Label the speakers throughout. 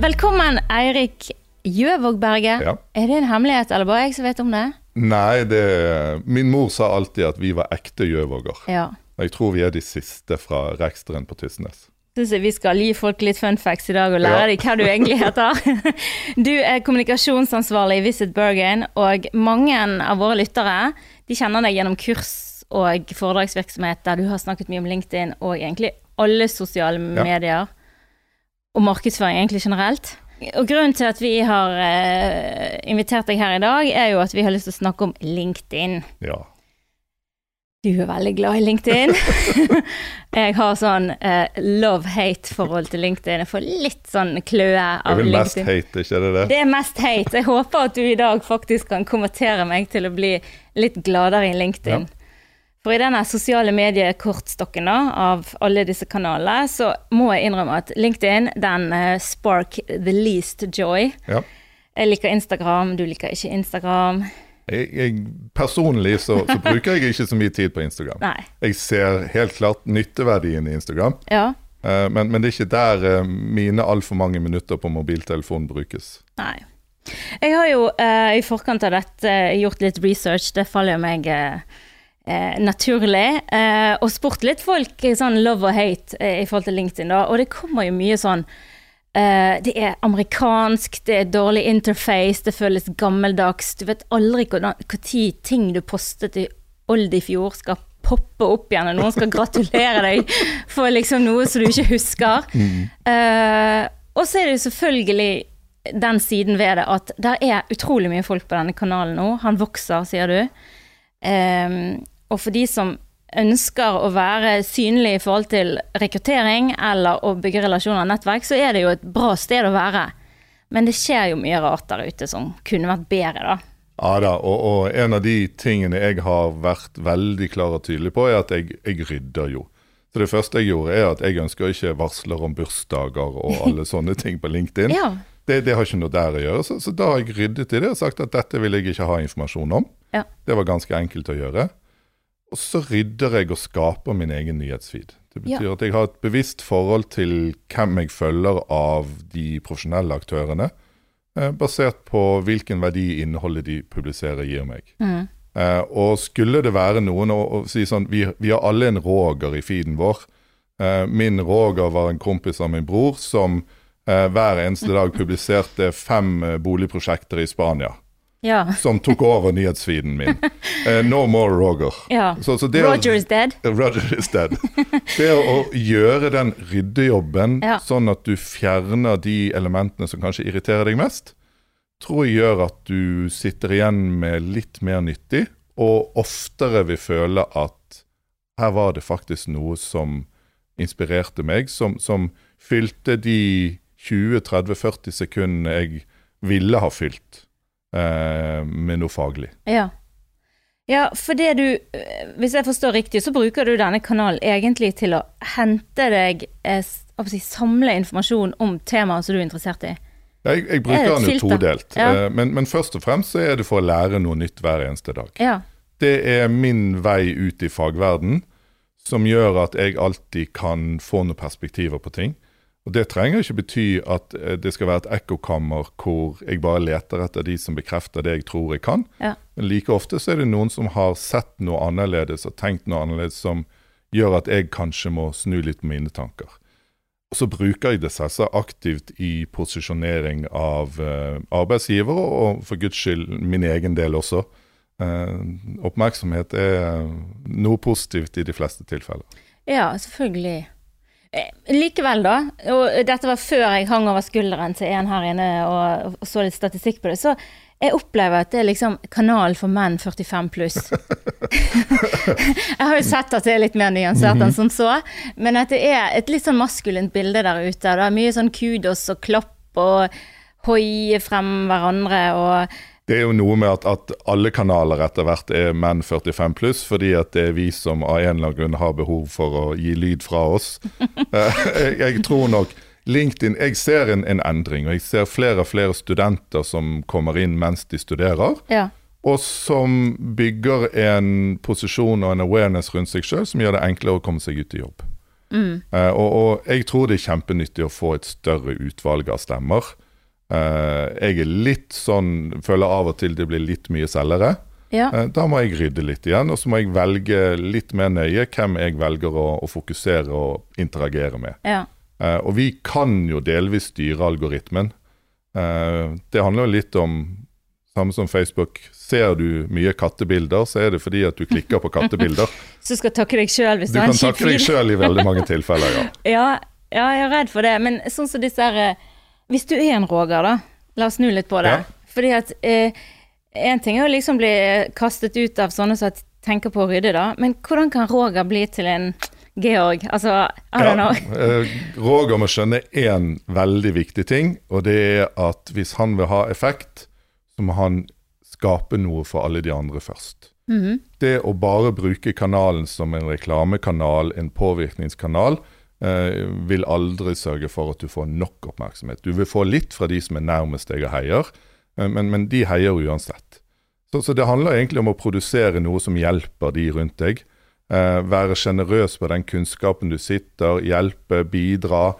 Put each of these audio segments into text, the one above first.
Speaker 1: Velkommen, Eirik Gjøvåg Berge.
Speaker 2: Ja.
Speaker 1: Er det en hemmelighet, eller bare jeg som vet om det?
Speaker 2: Nei, det Min mor sa alltid at vi var ekte gjøvåger.
Speaker 1: Ja.
Speaker 2: Og jeg tror vi er de siste fra Reksteren på Tysnes.
Speaker 1: Syns jeg vi skal gi folk litt fun facts i dag og lære
Speaker 2: Ja.
Speaker 1: dem hva du egentlig heter. Du er kommunikasjonsansvarlig i Visit Bergen, og mange av våre lyttere de kjenner deg gjennom kurs og foredragsvirksomhet der du har snakket mye om LinkedIn og egentlig alle sosiale
Speaker 2: Ja.
Speaker 1: medier. Og markedsføring egentlig generelt. Og grunnen til at vi har eh, invitert deg her i dag, er jo at vi har lyst til å snakke om LinkedIn.
Speaker 2: Ja.
Speaker 1: Du er veldig glad i LinkedIn. jeg har sånn eh, love-hate-forhold til LinkedIn. Jeg får litt sånn kløe
Speaker 2: Jeg
Speaker 1: av
Speaker 2: vil mest
Speaker 1: LinkedIn.
Speaker 2: hate, ikke er det det?
Speaker 1: Det er mest hate. Jeg håper at du i dag faktisk kan konvertere meg til å bli litt gladere i LinkedIn. For i denne sosiale mediekortstokken da, av alle disse kanalene, så må jeg innrømme at LinkedIn, den eh, spark the least joy.
Speaker 2: Ja.
Speaker 1: Jeg liker Instagram, du liker ikke Instagram.
Speaker 2: Jeg, jeg, personlig så, så bruker jeg ikke så mye tid på Instagram.
Speaker 1: Nei.
Speaker 2: Jeg ser helt klart nytteverdien i Instagram,
Speaker 1: Ja.
Speaker 2: eh, men, men det er ikke der eh, mine altfor mange minutter på mobiltelefon brukes.
Speaker 1: Nei. Jeg har jo eh, i forkant av dette eh, gjort litt research, det faller jo meg eh, eh, naturlig, eh, og spurt litt folk eh, sånn love og hate eh, i forhold til LinkedIn, da, og det kommer jo mye sånn eh, det er amerikansk, det er dårlig interface, det føles gammeldags. Du vet aldri når ting du postet i old i fjor skal poppe opp igjen, og noen skal gratulere deg for liksom noe som du ikke husker. Eh, og så er det jo selvfølgelig den siden ved det at der er utrolig mye folk på denne kanalen nå. Han vokser, sier du. Ehm, og for de som ønsker å være synlige i forhold til rekruttering eller å bygge relasjoner og nettverk, så er det jo et bra sted å være. Men det skjer jo mye rart der ute som kunne vært bedre, da.
Speaker 2: Ja da, og, og en av de tingene jeg har vært veldig klar og tydelig på, er at jeg, jeg rydder jo. Så det første jeg gjorde, er at jeg ønsker ikke varsler om bursdager og alle sånne ting på LinkedIn.
Speaker 1: Ja.
Speaker 2: Det, det har ikke noe der å gjøre, så, så da har jeg ryddet i det og sagt at dette vil jeg ikke ha informasjon om.
Speaker 1: Ja.
Speaker 2: Det var ganske enkelt å gjøre. Og så rydder jeg og skaper min egen nyhetsfeed. Det betyr at jeg har et bevisst forhold til hvem jeg følger av de profesjonelle aktørene, eh, basert på hvilken verdi innholdet de publiserer, gir meg.
Speaker 1: Mm.
Speaker 2: Eh, og skulle det være noen å, å si sånn vi, vi har alle en Roger i feeden vår. Eh, min Roger var en kompis av min bror som eh, hver eneste dag publiserte fem eh, boligprosjekter i Spania.
Speaker 1: Ja.
Speaker 2: Som tok over nyhetsfeeden min. Eh, no more Roger.
Speaker 1: ja.
Speaker 2: Så, så det å-
Speaker 1: Roger is dead.
Speaker 2: Roger is dead. Det å gjøre den ryddejobben
Speaker 1: Ja.
Speaker 2: sånn at du fjerner de elementene som kanskje irriterer deg mest, tror jeg gjør at du sitter igjen med litt mer nyttig, og oftere vil føle at her var det faktisk noe som inspirerte meg, som, som fylte de 20-30-40 sekundene jeg ville ha fylt eh, med noe faglig.
Speaker 1: Ja. Ja, for det du eh, Hvis jeg forstår riktig, så bruker du denne kanalen egentlig til å hente deg eh, s- hva skal jeg si, Samle informasjon om temaet som du er interessert i.
Speaker 2: Ja, Jeg,
Speaker 1: Det er
Speaker 2: jeg bruker
Speaker 1: et
Speaker 2: den jo
Speaker 1: filter.
Speaker 2: todelt,
Speaker 1: Ja.
Speaker 2: eh, men, men først og fremst så er det for å lære noe nytt hver eneste dag.
Speaker 1: Ja.
Speaker 2: Det er min vei ut i fagverden som gjør at jeg alltid kan få noen perspektiver på ting. Og Det trenger ikke bety at eh, det skal være et ekkokammer hvor jeg bare leter etter de som bekrefter det jeg tror jeg kan.
Speaker 1: Ja.
Speaker 2: Men like ofte så er det noen som har sett noe annerledes og tenkt noe annerledes som gjør at jeg kanskje må snu litt på mine tanker. Og så bruker jeg det selvsagt aktivt i posisjonering av eh, arbeidsgivere, og for guds skyld min egen del også. Eh, oppmerksomhet er noe positivt i de fleste tilfeller.
Speaker 1: Ja, selvfølgelig. Eh, Likevel, da. Og dette var før jeg hang over skulderen til en her inne og, og så litt statistikk på det. Så jeg opplever at det er liksom kanalen for menn 45 pluss. jeg har jo sett at det er litt mer nyansert
Speaker 2: Mhm.
Speaker 1: enn som så, men at det er et litt sånn maskulint bilde der ute. Det er mye sånn kudos og klapp og hoi frem hverandre og
Speaker 2: Det er jo noe med at, at alle kanaler etter hvert er menn 45 pluss, fordi at det er vi som av en eller annen grunn har behov for å gi lyd fra oss. Eh, jeg, jeg tror nok LinkedIn Jeg ser en, en endring, og jeg ser flere og flere studenter som kommer inn mens de studerer,
Speaker 1: Ja.
Speaker 2: og som bygger en posisjon og en awareness rundt seg sjøl som gjør det enklere å komme seg ut i jobb.
Speaker 1: Mm.
Speaker 2: Eh, og, og jeg tror det er kjempenyttig å få et større utvalg av stemmer. Eh, jeg er litt sånn Føler av og til det blir litt mye selgere.
Speaker 1: Ja.
Speaker 2: Eh, da må jeg rydde litt igjen, og så må jeg velge litt mer nøye hvem jeg velger å, å fokusere og interagere med.
Speaker 1: ja.
Speaker 2: Eh, og vi kan jo delvis styre algoritmen. Eh, det handler jo litt om Samme som Facebook. Ser du mye kattebilder, så er det fordi at du klikker på kattebilder.
Speaker 1: Så du skal takke deg sjøl hvis
Speaker 2: Du
Speaker 1: du har
Speaker 2: kan
Speaker 1: en kjip
Speaker 2: takke deg
Speaker 1: feed.
Speaker 2: sjøl i veldig mange tilfeller, ja.
Speaker 1: Ja, ja, jeg er redd for det. Men sånn som disse her eh, Hvis du er en Roger, da. La oss snu litt på det.
Speaker 2: Ja.
Speaker 1: Fordi at eh, en ting er å liksom bli kastet ut av sånne som tenker på å rydde, da. Men hvordan kan Roger bli til en Georg? Altså, I don't
Speaker 2: Ja,
Speaker 1: know.
Speaker 2: eh, Roger må skjønne én veldig viktig ting, og det er at hvis han vil ha effekt, så må han skape noe for alle de andre først. Det å bare bruke kanalen som en reklamekanal, en påvirkningskanal, eh, vil aldri sørge for at du får nok oppmerksomhet. Du vil få litt fra de som er nærmest deg og heier, eh, men, men de heier uansett. Så, så det handler egentlig om å produsere noe som hjelper de rundt deg. Eh, være sjenerøs på den kunnskapen du sitter, hjelpe, bidra.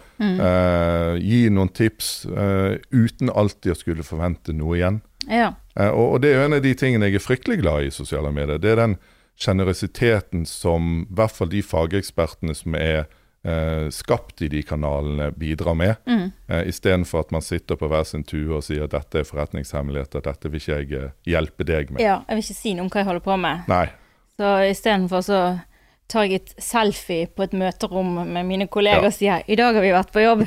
Speaker 2: Eh, gi noen tips eh, uten alltid å skulle forvente noe igjen.
Speaker 1: Ja.
Speaker 2: Eh, og, og det er jo en av de tingene jeg er fryktelig glad i i sosiale medier. Det er den sjenerøsiteten som i hvert fall de fagekspertene som er eh, skapt i de kanalene, bidrar med.
Speaker 1: Mm.
Speaker 2: Eh, Istedenfor at man sitter på hver sin tue og sier dette er forretningshemmeligheter, dette vil ikke jeg eh, hjelpe deg med.
Speaker 1: ja. Jeg vil ikke si noe om hva jeg holder på med.
Speaker 2: Nei.
Speaker 1: Så istedenfor så tar jeg et selfie på et møterom med mine kolleger
Speaker 2: Ja.
Speaker 1: og sier 'i dag har vi vært på jobb'.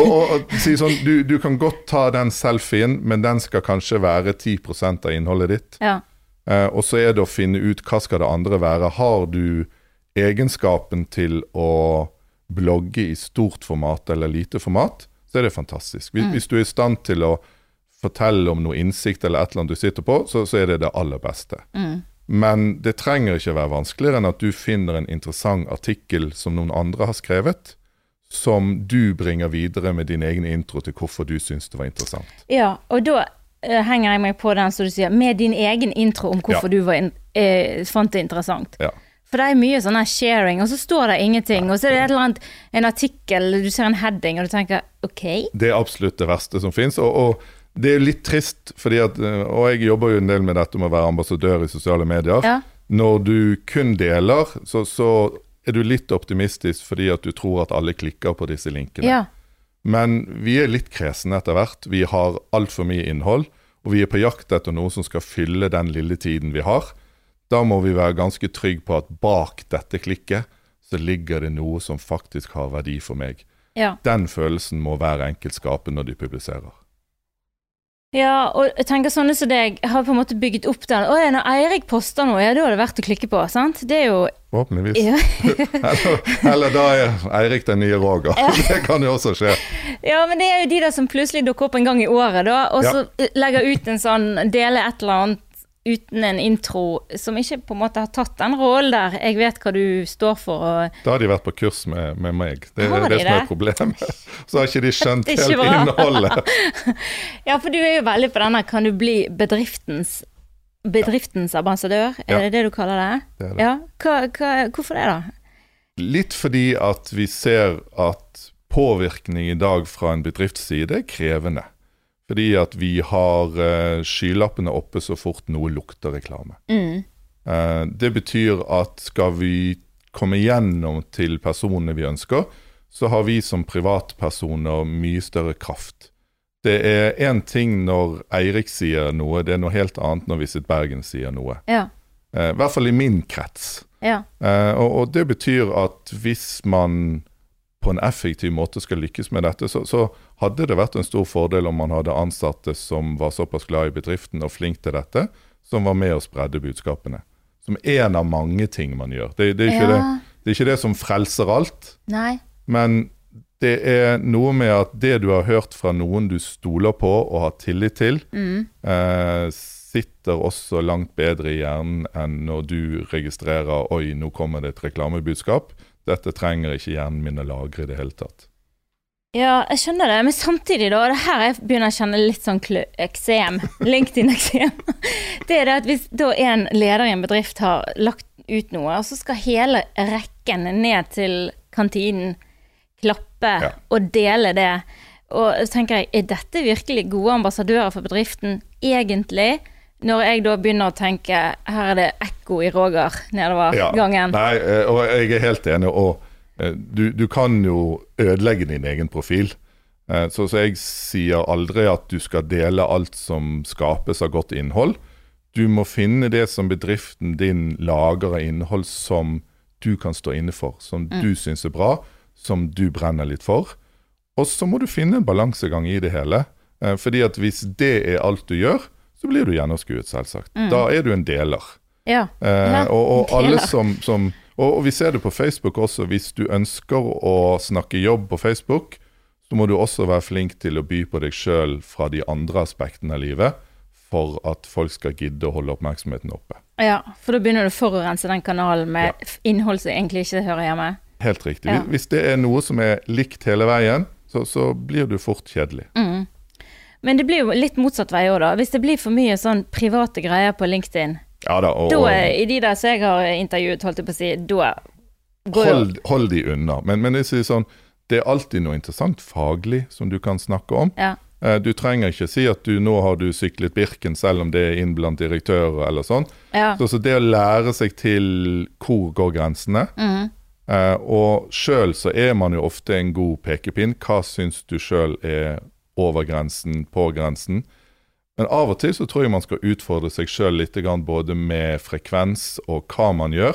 Speaker 2: Og, og, og si sånn, du, du kan godt ta den selfien, men den skal kanskje være 10 av innholdet ditt.
Speaker 1: ja.
Speaker 2: Eh, og så er det å finne ut hva skal det andre være. Har du egenskapen til å blogge i stort format eller lite format, så er det fantastisk. Hvis, hvis du er i stand til å fortelle om noe innsikt eller et eller annet du sitter på, så, så er det det aller beste. Men det trenger ikke være vanskeligere enn at du finner en interessant artikkel som noen andre har skrevet, som du bringer videre med din egen intro til hvorfor du syns det var interessant.
Speaker 1: Ja, og da eh, henger jeg meg på den som du sier, med din egen intro om hvorfor du var in eh, fant det interessant.
Speaker 2: Ja.
Speaker 1: For det er mye sånn her sharing, og så står det ingenting, og så er det et eller annet, en artikkel, du ser en heading, og du tenker ok.
Speaker 2: det er absolutt det verste som fins. Og, og det er jo litt trist, fordi at, eh, og jeg jobber jo en del med dette med å være ambassadør i sosiale medier.
Speaker 1: Ja.
Speaker 2: Når du kun deler, så, så er du litt optimistisk fordi at du tror at alle klikker på disse linkene.
Speaker 1: Ja,
Speaker 2: Men vi er litt kresne etter hvert. Vi har altfor mye innhold, og vi er på jakt etter noe som skal fylle den lille tiden vi har. Da må vi være ganske trygge på at bak dette klikket så ligger det noe som faktisk har verdi for meg.
Speaker 1: ja.
Speaker 2: Den følelsen må hver enkelt skape når de publiserer.
Speaker 1: Ja, og jeg tenker sånne som deg har på en måte bygget opp den. Å ja, når Eirik poster noe, ja, da er det verdt å klikke på, sant? Det er jo
Speaker 2: Forhåpentligvis.
Speaker 1: Ja,
Speaker 2: Eller, eller da er Eirik den nye Roger. Det kan jo også skje.
Speaker 1: ja men det er jo de der som plutselig dukker opp en gang i året, da, og
Speaker 2: Ja.
Speaker 1: så eh, legger ut en sånn Deler et eller annet uten en intro som ikke på en måte har tatt den rollen der. Jeg vet hva du står for, og
Speaker 2: Da har de vært på kurs med, med meg. Det er
Speaker 1: Har
Speaker 2: det,
Speaker 1: de
Speaker 2: som er
Speaker 1: det?
Speaker 2: problemet. Så har ikke de skjønt
Speaker 1: Det er
Speaker 2: helt
Speaker 1: ikke bra.
Speaker 2: innholdet.
Speaker 1: Ja, for du er jo veldig på denne Kan du bli bedriftens Bedriftens ambassadør, er
Speaker 2: Ja.
Speaker 1: det det du kaller det?
Speaker 2: Det er det.
Speaker 1: Ja. Hva, hva, hvorfor det, da?
Speaker 2: Litt fordi at vi ser at påvirkning i dag fra en bedriftsside er krevende. Fordi at vi har eh, skylappene oppe så fort noe lukter reklame. Eh, Det betyr at skal vi komme gjennom til personene vi ønsker, så har vi som privatpersoner mye større kraft. Det er én ting når Eirik sier noe, det er noe helt annet når Visit Bergen sier noe.
Speaker 1: Ja.
Speaker 2: Eh, I hvert fall i min krets.
Speaker 1: ja.
Speaker 2: Eh, og, og det betyr at hvis man på en effektiv måte skal lykkes med dette, så, så hadde det vært en stor fordel om man hadde ansatte som var såpass glad i bedriften og flink til dette, som var med og spredde budskapene. Som én av mange ting man gjør. Det, det, er ikke
Speaker 1: Ja.
Speaker 2: det, det er ikke det som frelser alt,
Speaker 1: Nei.
Speaker 2: men det er noe med at det du har hørt fra noen du stoler på og har tillit til, eh, sitter også langt bedre i hjernen enn når du registrerer Oi, nå kommer det et reklamebudskap. Dette trenger ikke hjernen min å lagre i det hele tatt.
Speaker 1: Ja, jeg skjønner det, men samtidig, da. Det her jeg begynner å kjenne litt sånn klø- eksem. LinkedIn-eksem. Det er det at hvis da en leder i en bedrift har lagt ut noe, og så skal hele rekken ned til kantinen, klappe
Speaker 2: Ja.
Speaker 1: og dele det. Og så tenker jeg, er dette virkelig gode ambassadører for bedriften, egentlig? Når jeg da begynner å tenke, her er det ekko i Roger nedover
Speaker 2: Ja.
Speaker 1: gangen.
Speaker 2: Nei, eh, og jeg er helt enig. Og eh, du, du kan jo ødelegge din egen profil. Eh, Så, så jeg sier aldri at du skal dele alt som skapes av godt innhold. Du må finne det som bedriften din lager av innhold som du kan stå inne for, som du syns er bra, som du brenner litt for. Og så må du finne en balansegang i det hele. Eh, Fordi at hvis det er alt du gjør, så blir du gjennomskuet, selvsagt. Da er du en deler.
Speaker 1: Ja.
Speaker 2: Eh,
Speaker 1: Ja,
Speaker 2: og, og
Speaker 1: deler.
Speaker 2: alle som, som og, og vi ser det på Facebook også. Hvis du ønsker å snakke jobb på Facebook, så må du også være flink til å by på deg sjøl fra de andre aspektene av livet, for at folk skal gidde å holde oppmerksomheten oppe.
Speaker 1: Ja, for da begynner du å forurense den kanalen med f- innhold som egentlig ikke hører hjemme.
Speaker 2: Helt riktig.
Speaker 1: Ja.
Speaker 2: Hvis- Hvis det er noe som er likt hele veien, så, så blir du fort kjedelig.
Speaker 1: Mm. Men det blir jo litt motsatt vei òg, da. Hvis det blir for mye sånn private greier på LinkedIn,
Speaker 2: Ja da, og,
Speaker 1: da
Speaker 2: og
Speaker 1: er- i de der som jeg har intervjuet, holdt jeg på å si, da går jo
Speaker 2: hold, hold de unna. Men, men jeg sier sånn, det er alltid noe interessant faglig som du kan snakke om.
Speaker 1: ja.
Speaker 2: Eh, Du trenger ikke si at du nå har du syklet Birken, selv om det er inn blant direktører eller sånn.
Speaker 1: ja.
Speaker 2: Så, så det å lære seg til hvor går grensene,
Speaker 1: Mhm.
Speaker 2: eh, og sjøl så er man jo ofte en god pekepinn. Hva syns du sjøl er over grensen, på grensen? Men av og til så tror jeg man skal utfordre seg sjøl litt, grann både med frekvens og hva man gjør.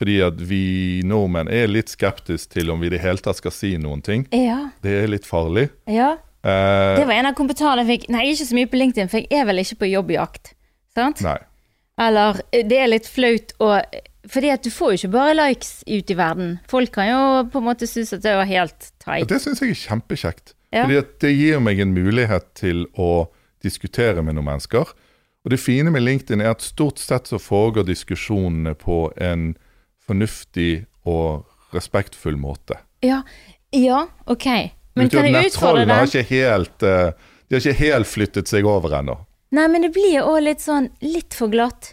Speaker 2: Fordi at vi nordmenn er litt skeptiske til om vi i det hele tatt skal si noen ting.
Speaker 1: ja.
Speaker 2: Det er litt farlig.
Speaker 1: Ja.
Speaker 2: Eh,
Speaker 1: Det var en av kommentarene jeg fikk. Nei, ikke så mye på LinkedIn, for jeg er vel ikke på jobbjakt. Sant?
Speaker 2: nei.
Speaker 1: Eller eh, det er litt flaut å Fordi at du får jo ikke bare likes ut i verden. Folk kan jo på en måte synes at det var helt
Speaker 2: Og
Speaker 1: teit.
Speaker 2: det syns jeg er kjempekjekt.
Speaker 1: Ja.
Speaker 2: Fordi at det gir meg en mulighet til å diskutere med noen mennesker. Og det fine med LinkedIn er at stort sett så foregår diskusjonene på en fornuftig og respektfull måte.
Speaker 1: Ja, ja ok. Men
Speaker 2: Utover
Speaker 1: kan jeg utfordre
Speaker 2: nettrollene
Speaker 1: deg?
Speaker 2: har ikke helt, eh, de har ikke helt flyttet seg over ennå.
Speaker 1: Nei, men det blir òg litt sånn litt for glatt.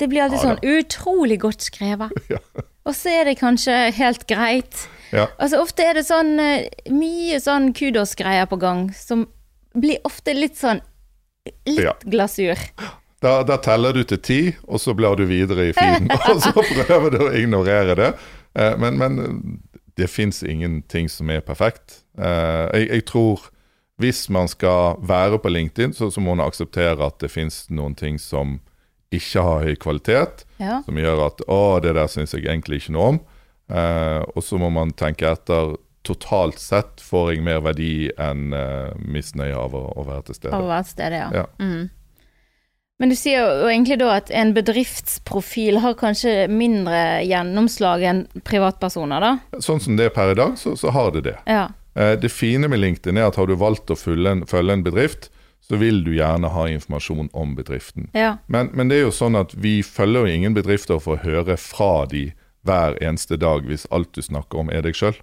Speaker 1: Det blir alltid
Speaker 2: Ja da.
Speaker 1: sånn utrolig godt skrevet.
Speaker 2: Ja.
Speaker 1: Og så er det kanskje helt greit.
Speaker 2: Ja.
Speaker 1: Altså ofte er det sånn eh, mye sånn kudos-greier på gang, som blir ofte litt sånn litt
Speaker 2: Ja.
Speaker 1: glasur.
Speaker 2: Da, da teller du til ti, og så blar du videre i feeden. Og så prøver du å ignorere det. Eh, Men, men det fins ingenting som er perfekt. Eh, Jeg, jeg tror hvis man skal være på LinkedIn, så, så må man akseptere at det fins noen ting som ikke har høy kvalitet.
Speaker 1: Ja.
Speaker 2: Som gjør at 'Å, det der syns jeg egentlig ikke noe om'. Eh, og så må man tenke etter. Totalt sett får jeg mer verdi enn eh, misnøye av å, å være til stede.
Speaker 1: Av hvert sted, ja.
Speaker 2: Ja.
Speaker 1: Mm. Men du sier jo egentlig da at en bedriftsprofil har kanskje mindre gjennomslag enn privatpersoner, da?
Speaker 2: Sånn som det er per i dag, så, så har det det.
Speaker 1: Ja.
Speaker 2: Eh, Det fine med LinkedIn er at har du valgt å følge en, følge en bedrift, så vil du gjerne ha informasjon om bedriften.
Speaker 1: ja.
Speaker 2: Men, men det er jo sånn at vi følger jo ingen bedrifter for å høre fra de hver eneste dag hvis alt du snakker om er deg sjøl.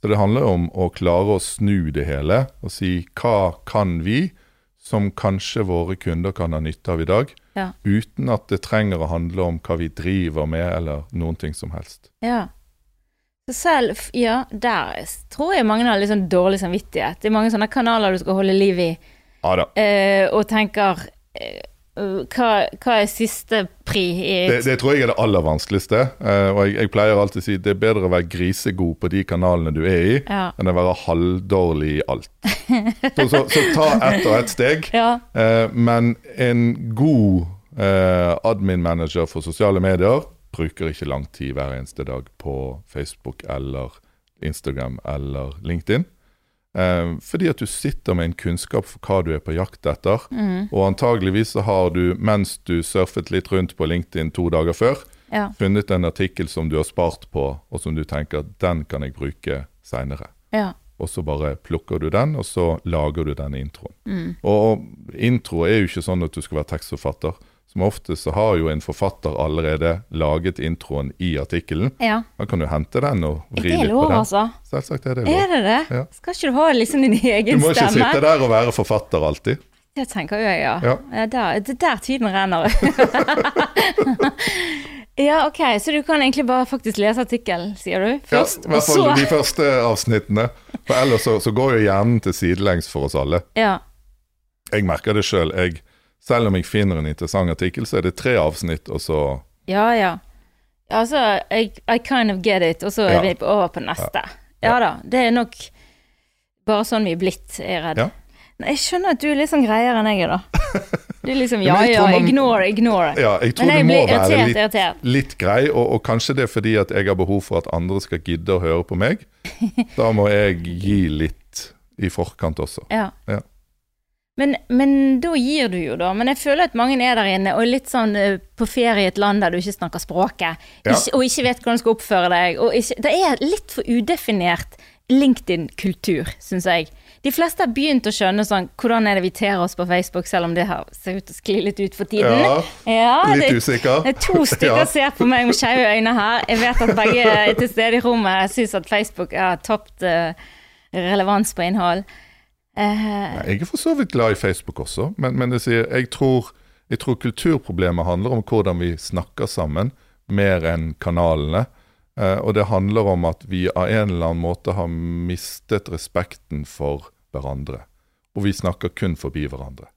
Speaker 2: Så det handler jo om å klare å snu det hele og si hva kan vi som kanskje våre kunder kan ha nytte av i dag,
Speaker 1: Ja.
Speaker 2: uten at det trenger å handle om hva vi driver med eller noen ting som helst.
Speaker 1: Ja. Så selv Ja, der s- tror jeg mange har litt sånn dårlig samvittighet. Det er mange sånne kanaler du skal holde liv i,
Speaker 2: Ja da.
Speaker 1: eh, og tenker eh, hva, hva er siste pri i
Speaker 2: Det, det tror jeg er det aller vanskeligste. eh, og jeg, jeg pleier alltid å si det er bedre å være grisegod på de kanalene du er i,
Speaker 1: Ja.
Speaker 2: enn å være halvdårlig i alt. Så, så, så ta ett og ett steg.
Speaker 1: Ja.
Speaker 2: Eh, men en god eh, admin-manager for sosiale medier bruker ikke lang tid hver eneste dag på Facebook eller Instagram eller LinkedIn. Eh, fordi at du sitter med en kunnskap for hva du er på jakt etter. Og antageligvis så har du, mens du surfet litt rundt på LinkedIn to dager før,
Speaker 1: Ja.
Speaker 2: funnet en artikkel som du har spart på, og som du tenker at den kan jeg bruke seinere.
Speaker 1: ja.
Speaker 2: Og så bare plukker du den, og så lager du den introen. Og intro er jo ikke sånn at du skal være tekstforfatter. Som ofte så har jo en forfatter allerede laget introen i artikkelen.
Speaker 1: ja.
Speaker 2: Da kan du hente den og
Speaker 1: Er
Speaker 2: vri
Speaker 1: det
Speaker 2: litt
Speaker 1: lov,
Speaker 2: på den.
Speaker 1: altså?
Speaker 2: Selvsagt er det
Speaker 1: Er
Speaker 2: lov.
Speaker 1: det det?
Speaker 2: Ja.
Speaker 1: Skal ikke du ha liksom din
Speaker 2: Du
Speaker 1: egen
Speaker 2: må ikke sitte
Speaker 1: stemme?
Speaker 2: der og være forfatter alltid.
Speaker 1: Det tenker jo jeg, ja.
Speaker 2: Ja.
Speaker 1: ja. der, det er der tiden renner. Ja, ok, så du kan egentlig bare faktisk lese artikkelen, sier du,
Speaker 2: Ja,
Speaker 1: først,
Speaker 2: I hvert fall
Speaker 1: og
Speaker 2: de
Speaker 1: så
Speaker 2: første avsnittene. For ellers så, så går jo hjernen til sidelengs for oss alle.
Speaker 1: Ja.
Speaker 2: Jeg merker det sjøl. Selv. selv om jeg finner en interessant artikkel, så er det tre avsnitt, og så
Speaker 1: Ja, ja. Altså, I, I kind of get it, og så er
Speaker 2: Ja.
Speaker 1: vi over på neste. Ja. da, det er nok bare sånn vi er blitt, er jeg redd.
Speaker 2: Ja.
Speaker 1: Nei, jeg skjønner at du er litt sånn greiere enn jeg er, da. Du er liksom ja,
Speaker 2: Men jeg
Speaker 1: ja,
Speaker 2: tror man-
Speaker 1: ignore, ignore.
Speaker 2: Ja, jeg tror
Speaker 1: Men
Speaker 2: det
Speaker 1: jeg
Speaker 2: må
Speaker 1: blir
Speaker 2: være
Speaker 1: irritert,
Speaker 2: litt,
Speaker 1: irritert.
Speaker 2: litt grei, og, og kanskje det er fordi at jeg har behov for at andre skal gidde å høre på meg. Da må jeg gi litt i forkant også.
Speaker 1: Ja.
Speaker 2: Ja.
Speaker 1: Men, men da gir du jo, da. Men jeg føler at mange er der inne og er litt sånn eh, på ferie i et land der du ikke snakker språket,
Speaker 2: Ja.
Speaker 1: ikke, og ikke vet hvordan du skal oppføre deg. Og ikke, det er litt for udefinert LinkedIn-kultur, syns jeg. De fleste har begynt å skjønne sånn hvordan er det vi ter oss på Facebook, selv om det har ser ut til å skli litt ut for tiden.
Speaker 2: Ja,
Speaker 1: Ja,
Speaker 2: litt
Speaker 1: det-
Speaker 2: usikker.
Speaker 1: det er to stykker
Speaker 2: Ja.
Speaker 1: ser på meg med skeive øyne her. Jeg vet at begge er til stede i rommet. Jeg syns at Facebook har tapt eh, relevans på innhold. Eh,
Speaker 2: Nei, Jeg er for så vidt glad i Facebook også, men, men jeg, sier, jeg, tror, jeg tror kulturproblemet handler om hvordan vi snakker sammen, mer enn kanalene. Eh, og det handler om at vi av en eller annen måte har mistet respekten for hverandre. Og vi snakker kun forbi hverandre.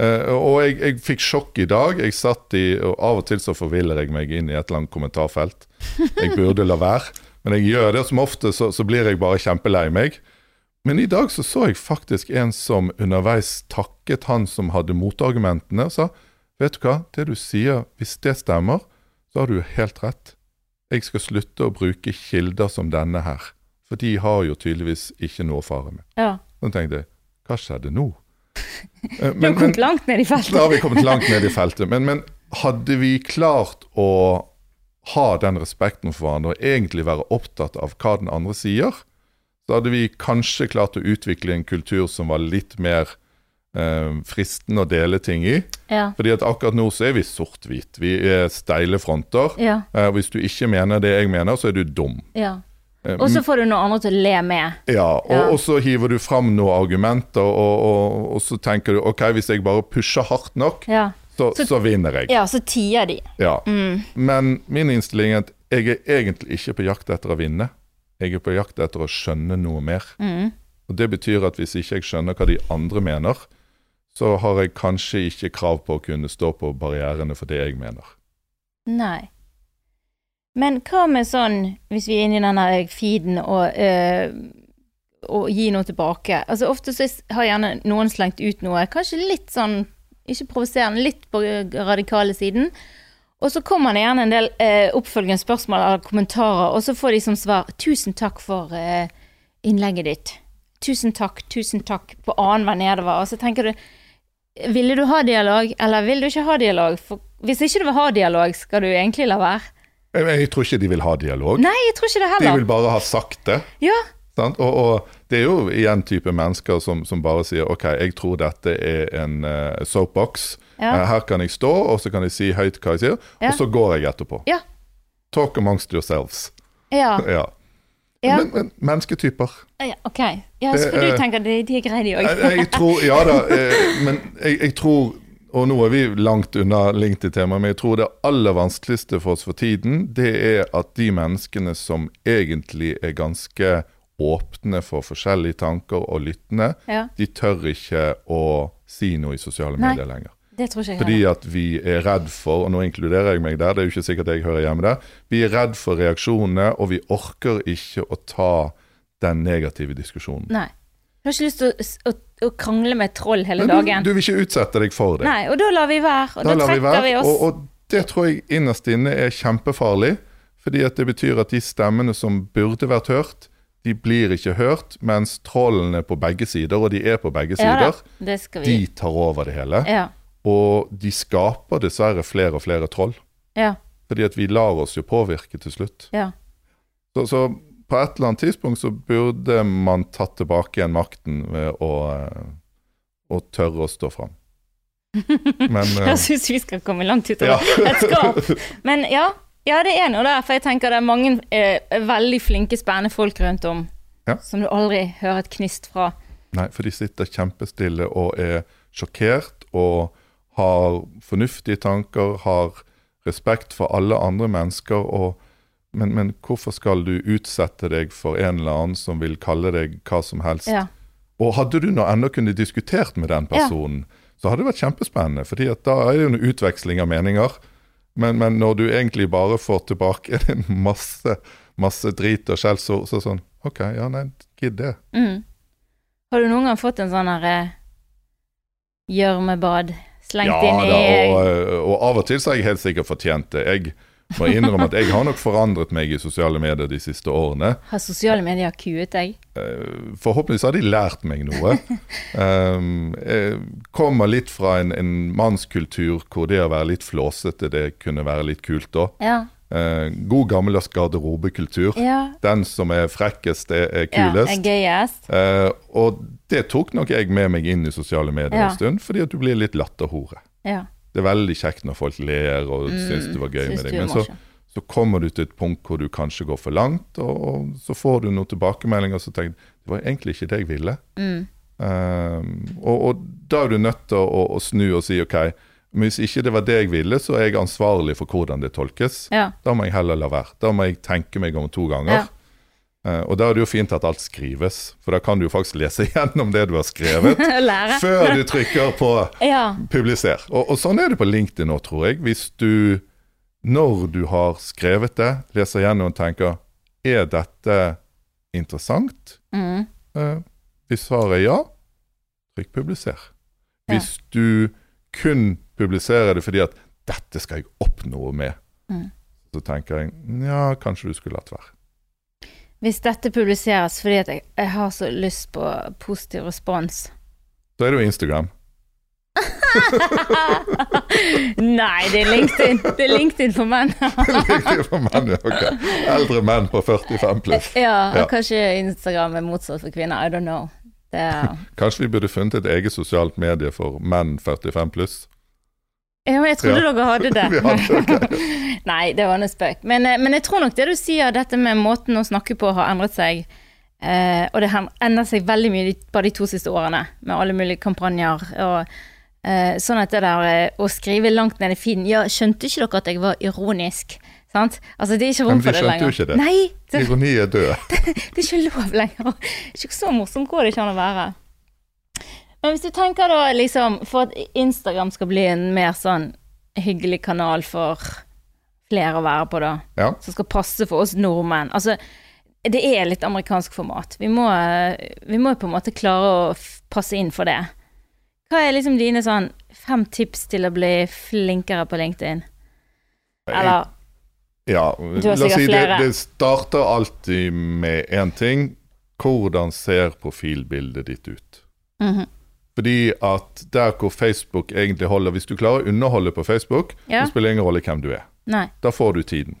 Speaker 2: Eh, og jeg, jeg fikk sjokk i dag. Jeg satt i, og Av og til så forviller jeg meg inn i et eller annet kommentarfelt. Jeg burde la være, men jeg gjør det. og Som ofte så, så blir jeg bare kjempelei meg. Men i dag så, så jeg faktisk en som underveis takket han som hadde motargumentene, og sa Vet du hva, det du sier, hvis det stemmer, så har du helt rett. Jeg skal slutte å bruke kilder som denne her, for de har jo tydeligvis ikke noe å fare med.
Speaker 1: ja.
Speaker 2: Så tenkte jeg, hva skjedde nå? Eh,
Speaker 1: Du har kommet langt ned i feltet.
Speaker 2: da har vi kommet langt ned i feltet. Men, men hadde vi klart å ha den respekten for hverandre og egentlig være opptatt av hva den andre sier, så hadde vi kanskje klart å utvikle en kultur som var litt mer eh, fristende å dele ting i.
Speaker 1: Ja.
Speaker 2: Fordi at akkurat nå så er vi sort-hvit. Vi er steile fronter.
Speaker 1: Ja,
Speaker 2: Eh, hvis du ikke mener det jeg mener, så er du dum.
Speaker 1: ja.
Speaker 2: Eh,
Speaker 1: Og så får du noen andre til å le med.
Speaker 2: ja, og,
Speaker 1: Ja.
Speaker 2: og så hiver du fram noen argumenter, og, og, og så tenker du OK, hvis jeg bare pusher hardt nok,
Speaker 1: Ja,
Speaker 2: så,
Speaker 1: Så-
Speaker 2: så vinner jeg.
Speaker 1: ja så tier de.
Speaker 2: Ja.
Speaker 1: Mm.
Speaker 2: Men min innstilling er at jeg er egentlig ikke på jakt etter å vinne. Jeg er på jakt etter å skjønne noe mer.
Speaker 1: Mm.
Speaker 2: Og Det betyr at hvis ikke jeg skjønner hva de andre mener, så har jeg kanskje ikke krav på å kunne stå på barrierene for det jeg mener.
Speaker 1: Nei. Men hva med sånn, hvis vi er inne i den her feeden og, eh, og gi noe tilbake Altså Ofte så har gjerne noen slengt ut noe, kanskje litt sånn, ikke provoserende, litt på radikale siden. Og så kommer det gjerne en del eh, oppfølgende spørsmål eller kommentarer, og så får de som svar 'tusen takk for eh, innlegget ditt'. Tusen takk, tusen takk, på annenhver nedover. Og så tenker du ville du ha dialog, eller vil du ikke ha dialog? For hvis ikke du vil ha dialog, skal du egentlig la være?
Speaker 2: Jeg, jeg tror ikke de vil ha dialog.
Speaker 1: Nei, jeg tror ikke det
Speaker 2: De
Speaker 1: heller.
Speaker 2: vil bare ha sagt det.
Speaker 1: Ja,
Speaker 2: Sant? Og, og det er jo igjen type mennesker som, som bare sier OK, jeg tror dette er en eh, soapbox.
Speaker 1: Ja.
Speaker 2: Eh, her kan jeg stå, og så kan jeg si høyt hva jeg sier,
Speaker 1: Ja.
Speaker 2: og så går jeg etterpå.
Speaker 1: ja,
Speaker 2: Talk amongst yourselves.
Speaker 1: ja.
Speaker 2: Ja.
Speaker 1: ja.
Speaker 2: Men, men mennesketyper.
Speaker 1: ja ok. Ja, så for
Speaker 2: Det, eh,
Speaker 1: du tenker de, de er greie, de
Speaker 2: Jeg,
Speaker 1: òg.
Speaker 2: jeg tror Ja da, eh, men jeg, jeg tror Og nå er vi langt unna LinkedIn-temaet, men jeg tror det aller vanskeligste for oss for tiden, det er at de menneskene som egentlig er ganske åpne for forskjellige tanker og lyttende,
Speaker 1: Ja,
Speaker 2: de tør ikke å si noe i sosiale
Speaker 1: Nei.
Speaker 2: medier lenger.
Speaker 1: det tror ikke jeg
Speaker 2: Fordi
Speaker 1: heller.
Speaker 2: at vi er redd for, og nå inkluderer jeg meg der, det er jo ikke sikkert jeg hører hjemme der, vi er redd for reaksjonene, og vi orker ikke å ta den negative diskusjonen.
Speaker 1: Nei. Du har ikke lyst til å, s- å, å krangle med et troll hele
Speaker 2: Men du,
Speaker 1: dagen.
Speaker 2: du vil ikke utsette deg for det.
Speaker 1: Nei, og da lar vi være. Og da,
Speaker 2: da lar vi
Speaker 1: trekker vi
Speaker 2: være.
Speaker 1: oss.
Speaker 2: Og, og det tror jeg innerst inne er kjempefarlig, fordi at det betyr at de stemmene som burde vært hørt, de blir ikke hørt, mens trollene på begge sider, og de er på begge
Speaker 1: ja, da,
Speaker 2: sider,
Speaker 1: det skal vi.
Speaker 2: de tar over det hele.
Speaker 1: Ja,
Speaker 2: Og de skaper dessverre flere og flere troll.
Speaker 1: ja,
Speaker 2: Fordi at vi lar oss jo påvirke til slutt.
Speaker 1: ja.
Speaker 2: Så, så på et eller annet tidspunkt så burde man tatt tilbake igjen makten ved å, eh, å tørre å stå fram. Men eh,
Speaker 1: Jeg syns vi skal komme langt utover
Speaker 2: ja.
Speaker 1: et skap. Men ja, ja, det er noe der, for jeg tenker det er mange eh, veldig flinke, spennende folk rundt om
Speaker 2: Ja.
Speaker 1: som du aldri hører et knist fra.
Speaker 2: Nei, for de sitter kjempestille og er sjokkert og har fornuftige tanker, har respekt for alle andre mennesker. og men, men hvorfor skal du utsette deg for en eller annen som vil kalle deg hva som helst?
Speaker 1: Ja.
Speaker 2: Og hadde du nå ennå kunne diskutert med den personen, så hadde det vært kjempespennende. fordi at da er det jo en utveksling av meninger. Men, men når du egentlig bare får tilbake en masse, masse drit og skjellsord, så er det sånn OK, ja, nei, gidd det.
Speaker 1: Mm. Har du noen gang fått en sånn her gjørmebad slengt
Speaker 2: Ja
Speaker 1: inn i
Speaker 2: da, og, og av og til så har jeg helt sikkert fortjent det. Jeg må innrømme at jeg har nok forandret meg i sosiale medier de siste årene.
Speaker 1: Har sosiale medier kuet deg?
Speaker 2: Eh, Forhåpentligvis har de lært meg noe. Um, jeg kommer litt fra en, en mannskultur hvor det å være litt flåsete, det kunne være litt kult da.
Speaker 1: Ja.
Speaker 2: Eh, god gammeldags garderobekultur.
Speaker 1: ja.
Speaker 2: Den som er frekkest, er, er
Speaker 1: Ja,
Speaker 2: kulest.
Speaker 1: er gøyest.
Speaker 2: Eh, og det tok nok jeg med meg inn i sosiale medier
Speaker 1: Ja.
Speaker 2: en stund, fordi at du blir litt latterhore.
Speaker 1: Ja.
Speaker 2: Det er veldig kjekt når folk ler og syns det var gøy
Speaker 1: Syns
Speaker 2: med
Speaker 1: Mm, du
Speaker 2: deg, men
Speaker 1: var
Speaker 2: så,
Speaker 1: morsom.
Speaker 2: så kommer du til et punkt hvor du kanskje går for langt, og, og så får du noen tilbakemeldinger som tenker det var egentlig ikke det jeg ville.
Speaker 1: Mm.
Speaker 2: Ehm, og, og da er du nødt til å, å snu og si OK, men hvis ikke det var det jeg ville, så er jeg ansvarlig for hvordan det tolkes.
Speaker 1: Ja.
Speaker 2: Da må jeg heller la være. Da må jeg tenke meg om to ganger.
Speaker 1: Ja.
Speaker 2: Eh, og da er det jo fint at alt skrives, for da kan du jo faktisk lese gjennom det du har skrevet,
Speaker 1: Lære.
Speaker 2: før du trykker på
Speaker 1: Ja.
Speaker 2: publiser. Og, og sånn er det på LinkedIn nå, tror jeg. Hvis du, når du har skrevet det, leser gjennom og tenker Er dette interessant?
Speaker 1: Mm.
Speaker 2: Eh, hvis svaret er ja, trykk publiser. Hvis du kun publiserer det fordi at 'dette skal jeg oppnå noe med',
Speaker 1: Mm.
Speaker 2: så tenker jeg ja, kanskje du skulle latt være.
Speaker 1: Hvis dette publiseres fordi at jeg, jeg har så lyst på positiv respons
Speaker 2: Så er det jo Instagram.
Speaker 1: Nei, det er LinkedIn. Det er LinkedIn for menn.
Speaker 2: Det er for menn, ja, ok. Eldre menn på 45 pluss.
Speaker 1: Ja, og
Speaker 2: Ja.
Speaker 1: kanskje Instagram er motsatt for kvinner. I don't know. Det er,
Speaker 2: Kanskje vi burde funnet et eget sosialt medie for menn 45 pluss?
Speaker 1: ja, men jeg trodde
Speaker 2: Ja.
Speaker 1: dere hadde det.
Speaker 2: Vi hadde det,
Speaker 1: Nei, det var en spøk. Men, eh, men jeg tror nok det du sier, dette med måten å snakke på har endret seg. Eh, og det har endret seg veldig mye de- bare de to siste årene, med alle mulige kampanjer. Og, eh, sånn at det der eh, å skrive langt ned i feeden Ja, skjønte ikke dere at jeg var ironisk? Sant? Altså, det er ikke
Speaker 2: Nei,
Speaker 1: rom
Speaker 2: men
Speaker 1: for
Speaker 2: de
Speaker 1: det
Speaker 2: skjønte jo
Speaker 1: lenger.
Speaker 2: ikke det.
Speaker 1: Nei, det,
Speaker 2: Ironi er død.
Speaker 1: det er ikke lov lenger. Ikke så morsomt går det ikke an å være. Men hvis du tenker da liksom For at Instagram skal bli en mer sånn hyggelig kanal for flere å være på, da.
Speaker 2: Ja.
Speaker 1: Som skal passe for oss nordmenn. Altså, det er litt amerikansk format. Vi må, vi må på en måte klare å f- passe inn for det. Hva er liksom dine sånn fem tips til å bli flinkere på LinkedIn? Eller
Speaker 2: ja.
Speaker 1: har
Speaker 2: La oss si
Speaker 1: sikkert
Speaker 2: det,
Speaker 1: flere.
Speaker 2: det starter alltid med én ting. Hvordan ser profilbildet ditt ut?
Speaker 1: Mhm.
Speaker 2: Fordi at der hvor Facebook egentlig holder Hvis du klarer å underholde på Facebook,
Speaker 1: Ja.
Speaker 2: så spiller det ingen rolle hvem du er.
Speaker 1: Nei.
Speaker 2: Da får du tiden.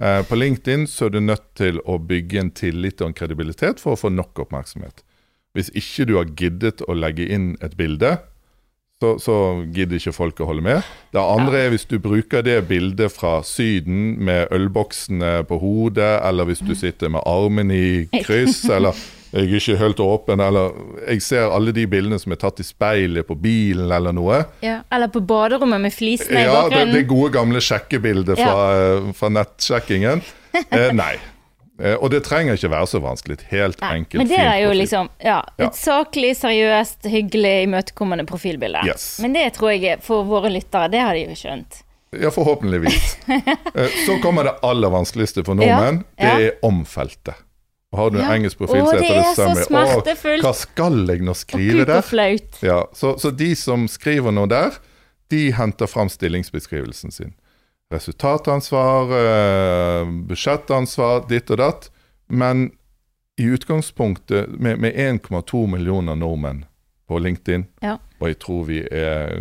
Speaker 2: Eh, på LinkedIn så er du nødt til å bygge en tillit og en kredibilitet for å få nok oppmerksomhet. Hvis ikke du har giddet å legge inn et bilde, så, så gidder ikke folk å holde med. Det andre er hvis du bruker det bildet fra Syden med ølboksene på hodet, eller hvis du sitter med armen i kryss, eller 'jeg er ikke helt åpen', eller 'jeg ser alle de bildene som er tatt i speilet på bilen', eller noe.
Speaker 1: Ja. Eller på baderommet med flisene i
Speaker 2: Ja, det,
Speaker 1: bakgrunnen.
Speaker 2: det gode gamle sjekkebildet fra, eh, fra nettsjekkingen. Eh, nei. Eh, og det trenger ikke være så vanskelig. Et helt
Speaker 1: Nei,
Speaker 2: enkelt,
Speaker 1: Men det
Speaker 2: fint
Speaker 1: er jo
Speaker 2: profil.
Speaker 1: liksom ja,
Speaker 2: Ja.
Speaker 1: et saklig, seriøst, hyggelig, imøtekommende profilbilde.
Speaker 2: Yes.
Speaker 1: Men det tror jeg er- for våre lyttere, det har de jo skjønt.
Speaker 2: Ja, forhåpentligvis. Eh, så kommer det aller vanskeligste for nordmenn.
Speaker 1: Ja, ja.
Speaker 2: Det er omfeltet. Og Har du en
Speaker 1: Ja.
Speaker 2: engelsk profil,
Speaker 1: Å,
Speaker 2: så
Speaker 1: det
Speaker 2: heter det
Speaker 1: er så
Speaker 2: summary.
Speaker 1: smertefullt.
Speaker 2: Å, hva skal jeg nå
Speaker 1: Og
Speaker 2: skrive
Speaker 1: og
Speaker 2: der?
Speaker 1: flaut.
Speaker 2: Ja, så, så de som skriver noe der, de henter fram stillingsbeskrivelsen sin. Resultatansvar, eh, budsjettansvar, ditt og datt. Men i utgangspunktet, med, med 1,2 millioner nordmenn på LinkedIn,
Speaker 1: Ja.
Speaker 2: og jeg tror vi er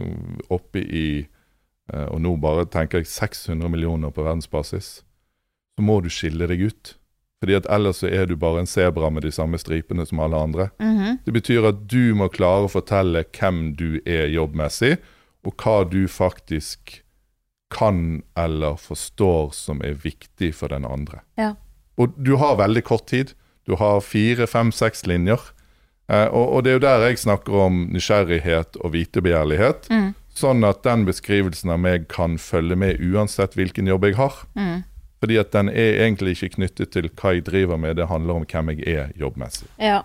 Speaker 2: oppe i eh, Og nå bare tenker jeg 600 millioner på verdensbasis. Så må du skille deg ut. Fordi at ellers så er du bare en sebra med de samme stripene som alle andre.
Speaker 1: Mhm.
Speaker 2: Det betyr at du må klare å fortelle hvem du er jobbmessig, og hva du faktisk kan eller forstår som er viktig for den andre.
Speaker 1: Ja.
Speaker 2: Og du har veldig kort tid. Du har fire, fem, seks linjer. Eh, og, og det er jo der jeg snakker om nysgjerrighet og vitebegjærlighet,
Speaker 1: Mm.
Speaker 2: Sånn at den beskrivelsen av meg kan følge med uansett hvilken jobb jeg har.
Speaker 1: Mm.
Speaker 2: Fordi at den er egentlig ikke knyttet til hva jeg driver med, det handler om hvem jeg er jobbmessig.
Speaker 1: Ja.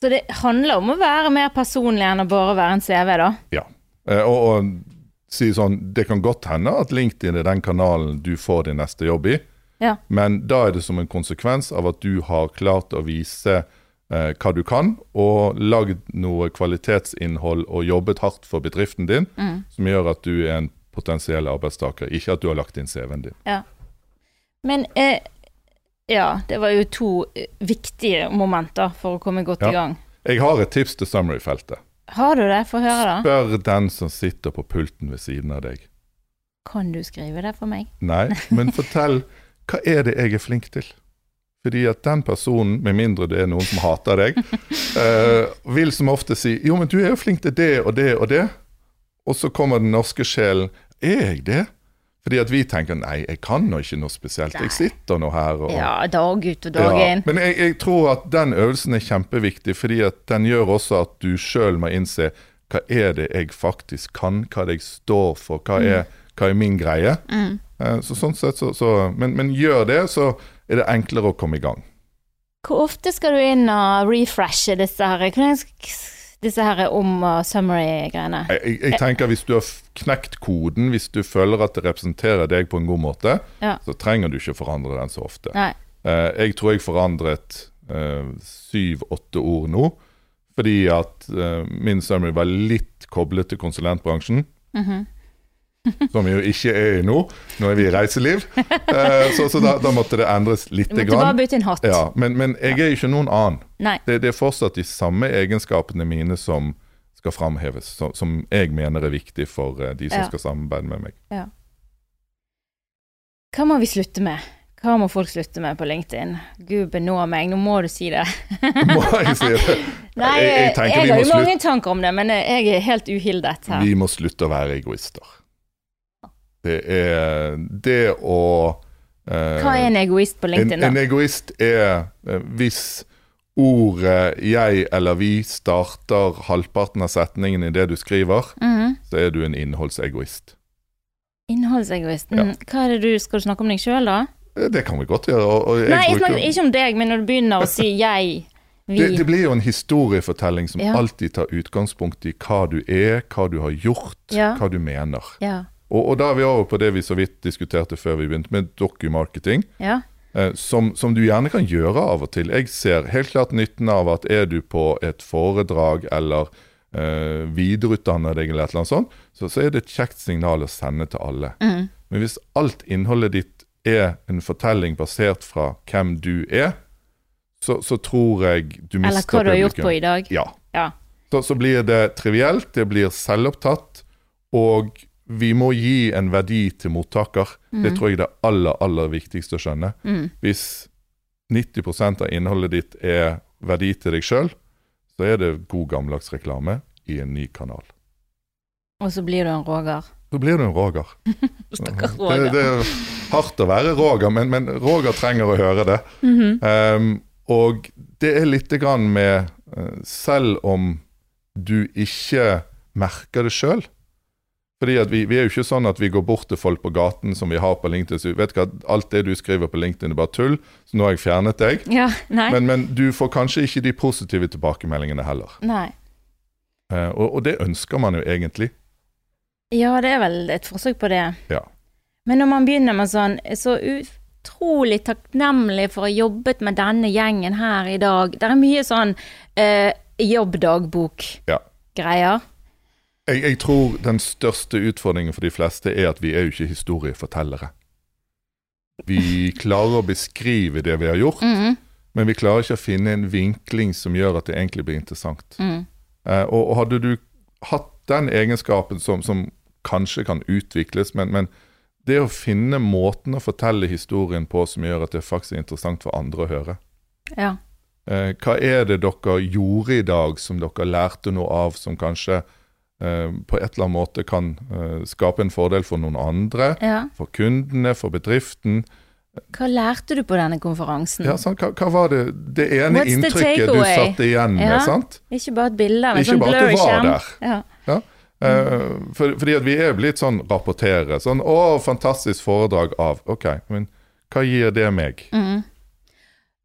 Speaker 1: Så det handler om å være mer personlig enn å bare være en CV, da.
Speaker 2: Ja. Eh, Og, og si sånn, det kan godt hende at LinkedIn er den kanalen du får din neste jobb i,
Speaker 1: Ja.
Speaker 2: men da er det som en konsekvens av at du har klart å vise eh, hva du kan, og lagd noe kvalitetsinnhold og jobbet hardt for bedriften din,
Speaker 1: Mm.
Speaker 2: som gjør at du er en potensiell arbeidstaker, ikke at du har lagt inn CV-en din.
Speaker 1: ja. Men eh, ja, det var jo to eh, viktige momenter for å komme godt
Speaker 2: Ja.
Speaker 1: i gang.
Speaker 2: Jeg har et tips til summary-feltet.
Speaker 1: Har du det? Få høre, da.
Speaker 2: Spør den som sitter på pulten ved siden av deg.
Speaker 1: Kan du skrive det for meg?
Speaker 2: Nei, men fortell hva er det jeg er flink til? Fordi at den personen, med mindre det er noen som hater deg, eh, vil som ofte si 'jo, men du er jo flink til det og det og det', og så kommer den norske sjelen 'er jeg det?' Fordi at vi tenker 'nei, jeg kan nå ikke noe spesielt,
Speaker 1: Nei.
Speaker 2: jeg sitter nå her og
Speaker 1: Ja, dag ut og dag
Speaker 2: ja,
Speaker 1: inn.
Speaker 2: Men jeg, jeg tror at den øvelsen er kjempeviktig, fordi at den gjør også at du sjøl må innse hva er det jeg faktisk kan, hva er det jeg står for, hva
Speaker 1: Mm.
Speaker 2: er, hva er min greie. Eh, Så sånn sett så, så men, men gjør det, så er det enklere å komme i gang.
Speaker 1: Hvor ofte skal du inn og refreshe disse her, hvordan sk- disse her om- og summary-greiene?
Speaker 2: Jeg, jeg, jeg tenker Hvis du har f- knekt koden, hvis du føler at det representerer deg på en god måte,
Speaker 1: Ja.
Speaker 2: så trenger du ikke forandre den så ofte.
Speaker 1: Nei.
Speaker 2: Eh, jeg tror jeg forandret eh, syv-åtte ord nå, fordi at eh, min summary var litt koblet til konsulentbransjen.
Speaker 1: Mhm.
Speaker 2: Som vi jo ikke er i nå. Nå er vi i reiseliv. Eh, så så da, da måtte det endres
Speaker 1: Du
Speaker 2: lite
Speaker 1: måtte bare
Speaker 2: grann.
Speaker 1: bytte en hatt.
Speaker 2: Ja, men, men jeg er ikke noen annen.
Speaker 1: Nei.
Speaker 2: Det, det er fortsatt de samme egenskapene mine som skal framheves, som, som jeg mener er viktig for eh, de som
Speaker 1: Ja.
Speaker 2: skal samarbeide med meg.
Speaker 1: Hva må vi slutte med? Hva må folk slutte med på LinkedIn? Gud benå meg, nå må du si det.
Speaker 2: Må jeg si det?
Speaker 1: Nei,
Speaker 2: Jeg-
Speaker 1: jeg,
Speaker 2: jeg tenker vi
Speaker 1: har
Speaker 2: må
Speaker 1: jo
Speaker 2: slutte-
Speaker 1: mange tanker om det, men jeg er helt uhildet her.
Speaker 2: Vi må slutte å være egoister. Det er det å eh,
Speaker 1: Hva er en egoist på LinkedIn,
Speaker 2: en, en
Speaker 1: da?
Speaker 2: egoist er eh, hvis ordet 'jeg' eller 'vi' starter halvparten av setningen i det du skriver,
Speaker 1: Mhm.
Speaker 2: så er du en innholdsegoist.
Speaker 1: Innholdsegoist. Mm.
Speaker 2: Ja.
Speaker 1: Hva er det du Skal du snakke om deg sjøl, da?
Speaker 2: Eh, Det kan vi godt gjøre. Og, og jeg
Speaker 1: Nei, jeg
Speaker 2: bruker-
Speaker 1: snakker ikke om deg, men når du begynner å si jeg, vi
Speaker 2: det, det blir jo en historiefortelling som
Speaker 1: Ja.
Speaker 2: alltid tar utgangspunkt i hva du er, hva du har gjort,
Speaker 1: Ja.
Speaker 2: hva du mener.
Speaker 1: Ja.
Speaker 2: Og, og da er vi over på det vi så vidt diskuterte før vi begynte med dokumarketing.
Speaker 1: ja.
Speaker 2: Eh, som, som du gjerne kan gjøre av og til. Jeg ser helt klart nytten av at er du på et foredrag eller eh, videreutdanner deg eller et eller annet sånt, så, så er det et kjekt signal å sende til alle.
Speaker 1: Mm.
Speaker 2: Men hvis alt innholdet ditt er en fortelling basert fra hvem du er, så, så tror jeg du
Speaker 1: Eller
Speaker 2: mister
Speaker 1: hva du har gjort på
Speaker 2: publikum.
Speaker 1: i dag.
Speaker 2: Ja.
Speaker 1: Ja.
Speaker 2: Så, så blir det trivielt, det blir selvopptatt, og vi må gi en verdi til mottaker.
Speaker 1: Mhm.
Speaker 2: Det tror jeg er det aller, aller viktigste å skjønne.
Speaker 1: Mm.
Speaker 2: Hvis 90 av innholdet ditt er verdi til deg sjøl, så er det god gammeldags reklame i en ny kanal.
Speaker 1: Og så blir du en Roger.
Speaker 2: Så blir du en Roger.
Speaker 1: Stakkars
Speaker 2: Mm. Det,
Speaker 1: Roger.
Speaker 2: det er hardt å være Roger, men, men Roger trenger å høre det.
Speaker 1: Mhm.
Speaker 2: Ehm, og det er lite grann med eh, Selv om du ikke merker det sjøl Fordi at vi, vi er jo ikke sånn at vi går bort til folk på gaten som vi har på LinkedIn. Så vi vet ikke at alt det du skriver på LinkedIn, er bare tull, så nå har jeg fjernet deg.
Speaker 1: Ja, nei.
Speaker 2: Men, men du får kanskje ikke de positive tilbakemeldingene heller.
Speaker 1: nei.
Speaker 2: Eh, og, og det ønsker man jo egentlig.
Speaker 1: Ja, det er vel et forsøk på det.
Speaker 2: Ja.
Speaker 1: Men når man begynner med sånn Så utrolig takknemlig for å ha jobbet med denne gjengen her i dag. Det er mye sånn eh,
Speaker 2: Ja.
Speaker 1: jobbdagbok-greier.
Speaker 2: Jeg, jeg tror den største utfordringen for de fleste er at vi er jo ikke historiefortellere. Vi klarer å beskrive det vi har gjort,
Speaker 1: Mhm,
Speaker 2: men vi klarer ikke å finne en vinkling som gjør at det egentlig blir interessant.
Speaker 1: mhm.
Speaker 2: Eh, og, og hadde du hatt den egenskapen som, som kanskje kan utvikles, men, men det å finne måten å fortelle historien på som gjør at det faktisk er interessant for andre å høre.
Speaker 1: Ja.
Speaker 2: Eh, hva er det dere gjorde i dag som dere lærte noe av, som kanskje eh, på et eller annet måte kan eh, skape en fordel for noen andre,
Speaker 1: ja.
Speaker 2: for kundene, for bedriften?
Speaker 1: Hva lærte du på denne konferansen?
Speaker 2: Ja, sant? Hva, hva var det, det ene
Speaker 1: Mm. What's the
Speaker 2: inntrykket du
Speaker 1: takeaway?
Speaker 2: satt igjen med?
Speaker 1: Ja.
Speaker 2: sant?
Speaker 1: Ikke bare et bilde av en
Speaker 2: Ikke
Speaker 1: sånn
Speaker 2: bare at du
Speaker 1: blurry
Speaker 2: var
Speaker 1: skjerm.
Speaker 2: der.
Speaker 1: Ja.
Speaker 2: Ja. Eh, for, fordi at vi er blitt sånn rapportere. Sånn 'Å, fantastisk foredrag av' Ok, men hva gir det meg?
Speaker 1: Mm.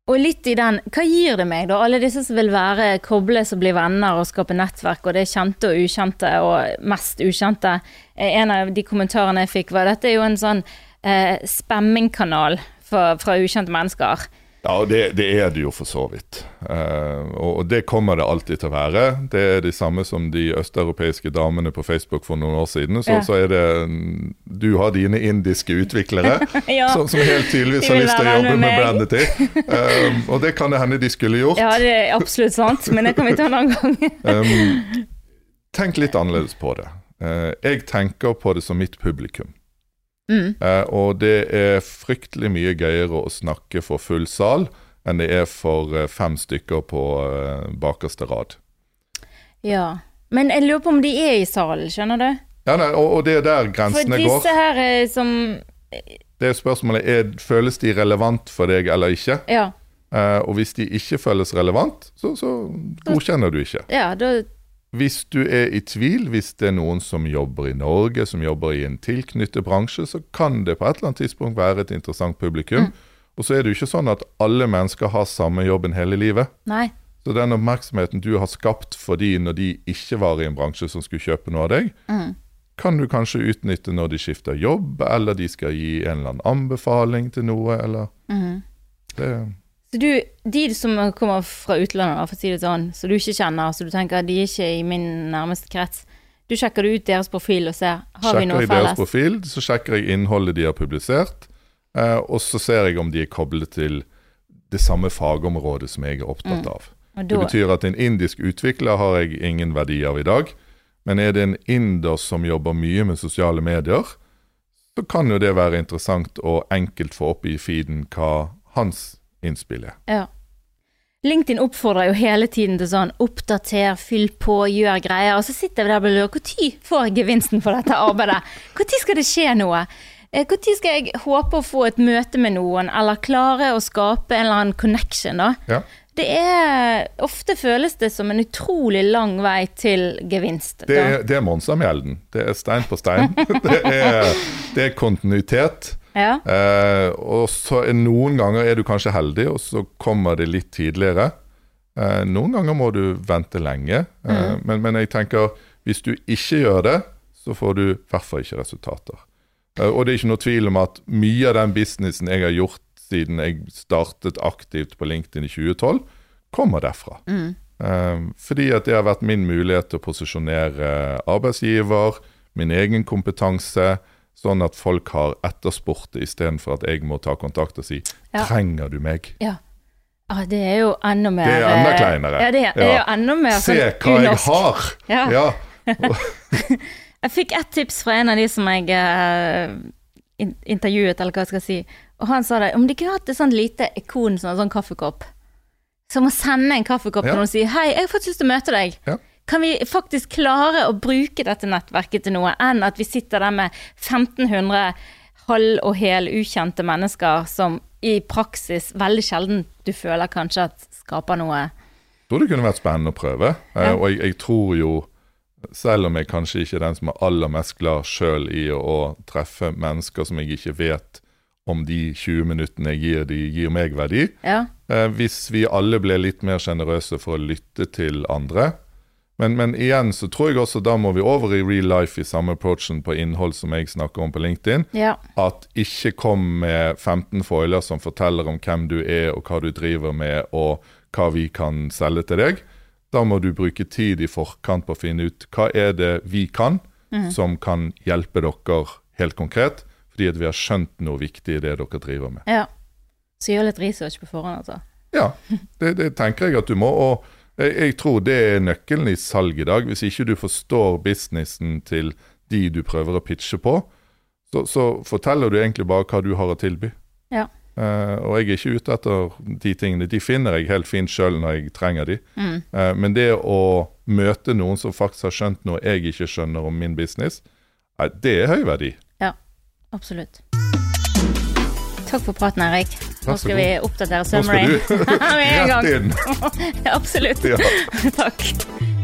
Speaker 1: Og litt i den, hva gir det meg da? Alle disse som vil være kobles og bli venner og skape nettverk, og det er kjente og ukjente, og mest ukjente. Eh, En av de kommentarene jeg fikk var, dette er jo en sånn eh, spammingkanal for, fra ukjente mennesker.
Speaker 2: Ja, og det, det er det jo for så vidt. Eh, og, og det kommer det alltid til å være. Det er de samme som de østeuropeiske damene på Facebook for noen år siden. Så,
Speaker 1: Ja.
Speaker 2: så er det mm, Du har dine indiske utviklere
Speaker 1: Ja.
Speaker 2: som, som helt tydeligvis
Speaker 1: De
Speaker 2: har
Speaker 1: vil
Speaker 2: lyst til å
Speaker 1: være
Speaker 2: jobbe
Speaker 1: venn
Speaker 2: med,
Speaker 1: med meg.
Speaker 2: brandet ditt. Eh, og det kan det hende de skulle gjort.
Speaker 1: Ja, det er absolutt sant, men det kan vi ta en annen gang.
Speaker 2: Um, tenk litt annerledes på det. Eh, jeg tenker på det som mitt publikum.
Speaker 1: Mm.
Speaker 2: Eh, og det er fryktelig mye gøyere å snakke for full sal enn det er for eh, fem stykker på eh, bakerste rad.
Speaker 1: Ja, men jeg lurer på om de er i salen, skjønner du?
Speaker 2: Ja, nei, og, og det er der
Speaker 1: For
Speaker 2: grensene går.
Speaker 1: disse her eh, som,
Speaker 2: Det er spørsmålet er, føles de relevant for deg eller ikke.
Speaker 1: ja,
Speaker 2: Eh, og hvis de ikke føles relevant, så, så godkjenner du ikke.
Speaker 1: ja, da,
Speaker 2: Hvis du er i tvil, hvis det er noen som jobber i Norge, som jobber i en tilknyttet bransje, så kan det på et eller annet tidspunkt være et interessant publikum. Og så er det jo ikke sånn at alle mennesker har samme jobben hele livet.
Speaker 1: nei,
Speaker 2: Så den oppmerksomheten du har skapt for de når de ikke var i en bransje som skulle kjøpe noe av deg, kan du kanskje utnytte når de skifter jobb, eller de skal gi en eller annen anbefaling til noe, eller det,
Speaker 1: Så du, de som kommer fra utlandet, da, for å si det sånn, som du ikke kjenner, så du tenker de er ikke i min nærmeste krets, du sjekker ut deres profil og ser har vi
Speaker 2: Sjekker
Speaker 1: noe
Speaker 2: jeg deres
Speaker 1: felles.
Speaker 2: profil, så sjekker jeg innholdet de har publisert, eh, og så ser jeg om de er koblet til det samme fagområdet som jeg er opptatt av.
Speaker 1: Og
Speaker 2: Det
Speaker 1: Mm. da,
Speaker 2: betyr at en indisk utvikler har jeg ingen verdi av i dag, men er det en inder som jobber mye med sosiale medier, så kan jo det være interessant å enkelt få opp i feeden hva hans innspill er.
Speaker 1: ja. LinkedIn oppfordrer jo hele tiden til sånn oppdater, fyll på, gjør greier, og så sitter vi der og lurer på når får jeg gevinsten for dette arbeidet? Når skal det skje noe? Når skal jeg håpe å få et møte med noen, eller klare å skape en eller annen connection, da?
Speaker 2: Ja.
Speaker 1: Det er Ofte føles det som en utrolig lang vei til gevinst.
Speaker 2: Det,
Speaker 1: da.
Speaker 2: er, det er Monsamjelden. Det er stein på stein. det, er, det er kontinuitet.
Speaker 1: Ja.
Speaker 2: Eh, og så er Noen ganger er du kanskje heldig, og så kommer det litt tidligere. Eh, noen ganger må du vente lenge. Eh, men, men jeg tenker hvis du ikke gjør det, så får du i hvert fall ikke resultater. Eh, og det er ikke noe tvil om at mye av den businessen jeg har gjort siden jeg startet aktivt på LinkedIn i 2012, kommer derfra. Eh, fordi at det har vært min mulighet til å posisjonere arbeidsgiver, min egen kompetanse, sånn at folk har etterspurt det istedenfor at jeg må ta kontakt og si
Speaker 1: Ja.
Speaker 2: 'trenger du meg'?
Speaker 1: ja. Ah, det er jo enda mer
Speaker 2: Det er enda
Speaker 1: eh,
Speaker 2: kleinere.
Speaker 1: Ja, det er, det er jo enda mer
Speaker 2: Se
Speaker 1: sånn
Speaker 2: hva jeg
Speaker 1: unorsk.
Speaker 2: har!
Speaker 1: Ja.
Speaker 2: Ja.
Speaker 1: Jeg fikk ett tips fra en av de som jeg eh, in- intervjuet, eller hva jeg skal si. Og han sa det, om de kunne hatt et sånt lite ikon, sånn, sånn kaffekopp. Som å sende en kaffekopp
Speaker 2: Ja.
Speaker 1: til noen og si 'hei, jeg har faktisk lyst til å møte deg'.
Speaker 2: Ja.
Speaker 1: Kan vi faktisk klare å bruke dette nettverket til noe, enn at vi sitter der med 1500 halv og hel ukjente mennesker som i praksis veldig sjelden du føler kanskje at skaper noe
Speaker 2: Tror det kunne vært spennende å prøve. Eh,
Speaker 1: Ja.
Speaker 2: og jeg, jeg tror jo, selv om jeg kanskje ikke er den som er aller mest glad sjøl i å, å treffe mennesker som jeg ikke vet om de 20 minuttene jeg gir de, gir meg verdi,
Speaker 1: Ja.
Speaker 2: eh, hvis vi alle ble litt mer sjenerøse for å lytte til andre. Men, men igjen så tror jeg også da må vi over i real life i samme approachen på innhold som jeg snakker om på LinkedIn.
Speaker 1: ja.
Speaker 2: At ikke kom med 15 foiler som forteller om hvem du er og hva du driver med og hva vi kan selge til deg. Da må du bruke tid i forkant på å finne ut hva er det vi kan som kan hjelpe dere helt konkret, fordi at vi har skjønt noe viktig i det dere driver med.
Speaker 1: ja. Så gjør litt research på forhånd, altså.
Speaker 2: Ja, det, det tenker jeg at du må. Og jeg, jeg tror det er nøkkelen i salg i dag. Hvis ikke du forstår businessen til de du prøver å pitche på, så, så forteller du egentlig bare hva du har å tilby.
Speaker 1: Ja.
Speaker 2: Eh, og jeg er ikke ute etter de tingene. De finner jeg helt fint sjøl når jeg trenger de. Eh, men det å møte noen som faktisk har skjønt noe jeg ikke skjønner om min business, eh, det er høy verdi.
Speaker 1: Ja, absolutt. Takk for praten, Erik. Nå
Speaker 2: Vær så
Speaker 1: skal
Speaker 2: god.
Speaker 1: vi oppdatere
Speaker 2: Nå skal
Speaker 1: summary.
Speaker 2: du
Speaker 1: Med en
Speaker 2: rett
Speaker 1: gang.
Speaker 2: inn.
Speaker 1: Absolutt.
Speaker 2: Ja.
Speaker 1: Takk.